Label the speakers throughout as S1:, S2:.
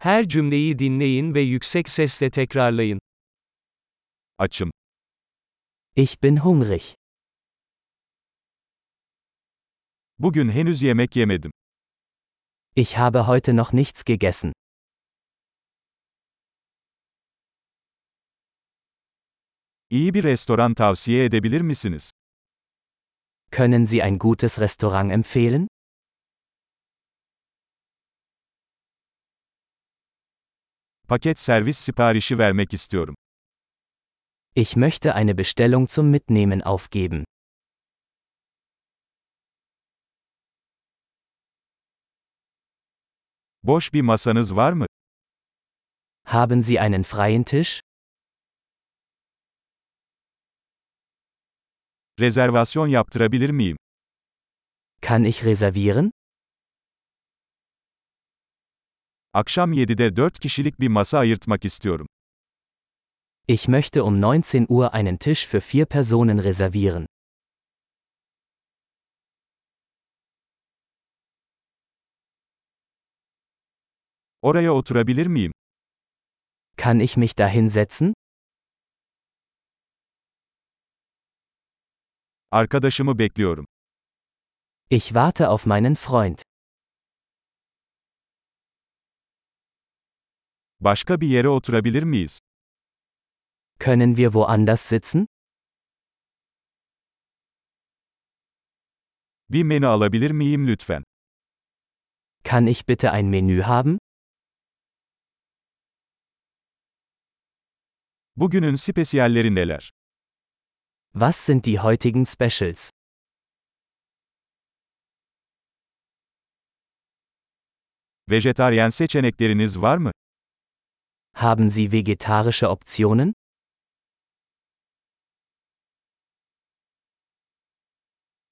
S1: Her cümleyi dinleyin ve yüksek sesle tekrarlayın.
S2: Açım.
S3: Ich bin hungrig.
S2: Bugün henüz yemek yemedim.
S3: Ich habe heute noch nichts gegessen.
S2: İyi bir restoran tavsiye edebilir misiniz?
S3: Können Sie ein gutes Restaurant empfehlen?
S2: Paket servis siparişi vermek istiyorum.
S3: Ich möchte eine Bestellung zum Mitnehmen aufgeben.
S2: Boş bir masanız var mı?
S3: Haben Sie einen freien Tisch?
S2: Rezervasyon yaptırabilir miyim?
S3: Kann ich reservieren?
S2: Akşam 7'de 4 kişilik bir masa ayırtmak istiyorum.
S3: Ich möchte um 19 Uhr einen Tisch für vier Personen reservieren.
S2: Oraya oturabilir miyim?
S3: Kann ich mich da hinsetzen?
S2: Arkadaşımı bekliyorum.
S3: Ich warte auf meinen Freund.
S2: Başka bir yere oturabilir miyiz?
S3: Können wir woanders sitzen?
S2: Bir menü alabilir miyim lütfen?
S3: Kann ich bitte ein Menü haben?
S2: Bugünün spesiyalleri neler?
S3: Was sind die heutigen Specials?
S2: Vejetaryen seçenekleriniz var mı?
S3: Haben Sie vegetarische Optionen?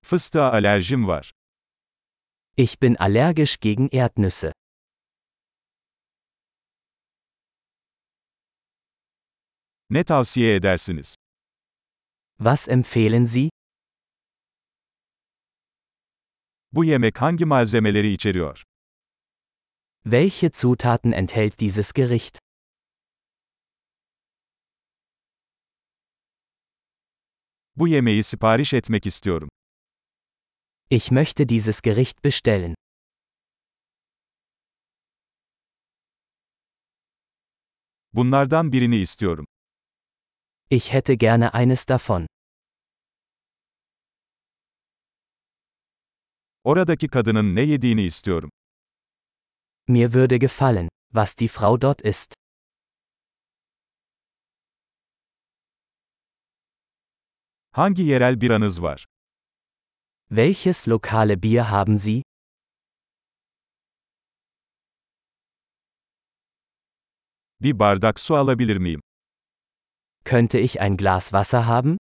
S2: Fıstığa alerjim var.
S3: Ich bin allergisch gegen Erdnüsse.
S2: Ne tavsiye edersiniz?
S3: Was empfehlen Sie?
S2: Bu yemek hangi malzemeleri içeriyor?
S3: Welche Zutaten enthält dieses Gericht?
S2: Bu yemeği sipariş etmek istiyorum.
S3: Ich möchte dieses Gericht bestellen.
S2: Bunlardan birini istiyorum.
S3: Ich hätte gerne eines davon.
S2: Oradaki kadının ne yediğini istiyorum.
S3: Mir würde gefallen, was die Frau dort isst.
S2: Hangi yerel biranız var?
S3: Welches lokale Bier haben Sie?
S2: Bir bardak su alabilir miyim?
S3: Könnte ich ein Glas Wasser haben?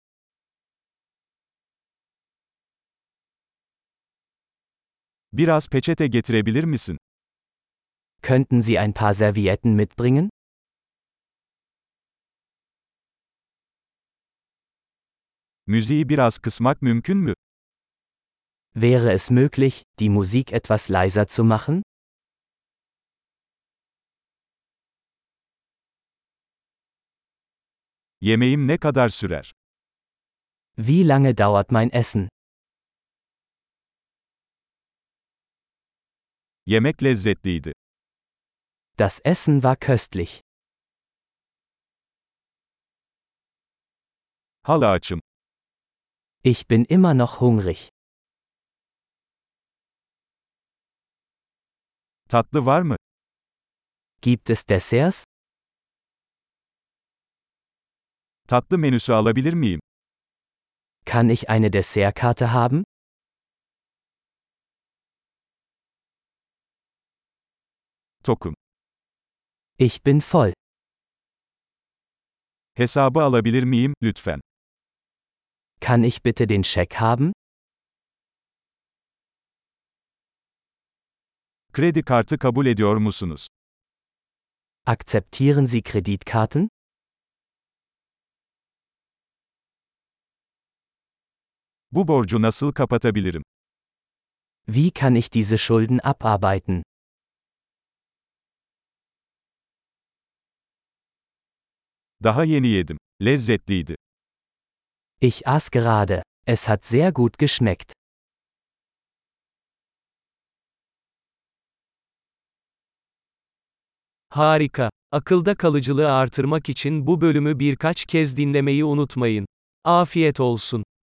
S2: Biraz peçete getirebilir misin?
S3: Könnten Sie ein paar Servietten mitbringen?
S2: Müziği biraz kısmak mümkün mü?
S3: Wäre es möglich, die Musik etwas leiser zu machen?
S2: Yemeğim ne kadar sürer?
S3: Wie lange dauert mein Essen?
S2: Yemek lezzetliydi.
S3: Das Essen war köstlich.
S2: Hala açım.
S3: Ich bin immer noch hungrig.
S2: Tatlı var mı?
S3: Gibt es Desserts?
S2: Tatlı menüsü alabilir miyim?
S3: Kann ich eine Dessertkarte haben?
S2: Tokum.
S3: Ich bin voll.
S2: Hesabı alabilir miyim lütfen?
S3: Kann ich bitte den Scheck haben?
S2: Kredi kartı kabul ediyor musunuz?
S3: Akzeptieren Sie Kreditkarten?
S2: Bu borcu nasıl kapatabilirim?
S3: Wie kann ich diese Schulden abarbeiten?
S2: Daha yeni yedim. Lezzetliydi.
S4: Ich aß gerade. Es hat sehr gut geschmeckt.
S3: Harika. Akılda kalıcılığı artırmak için bu bölümü birkaç kez dinlemeyi unutmayın. Afiyet olsun.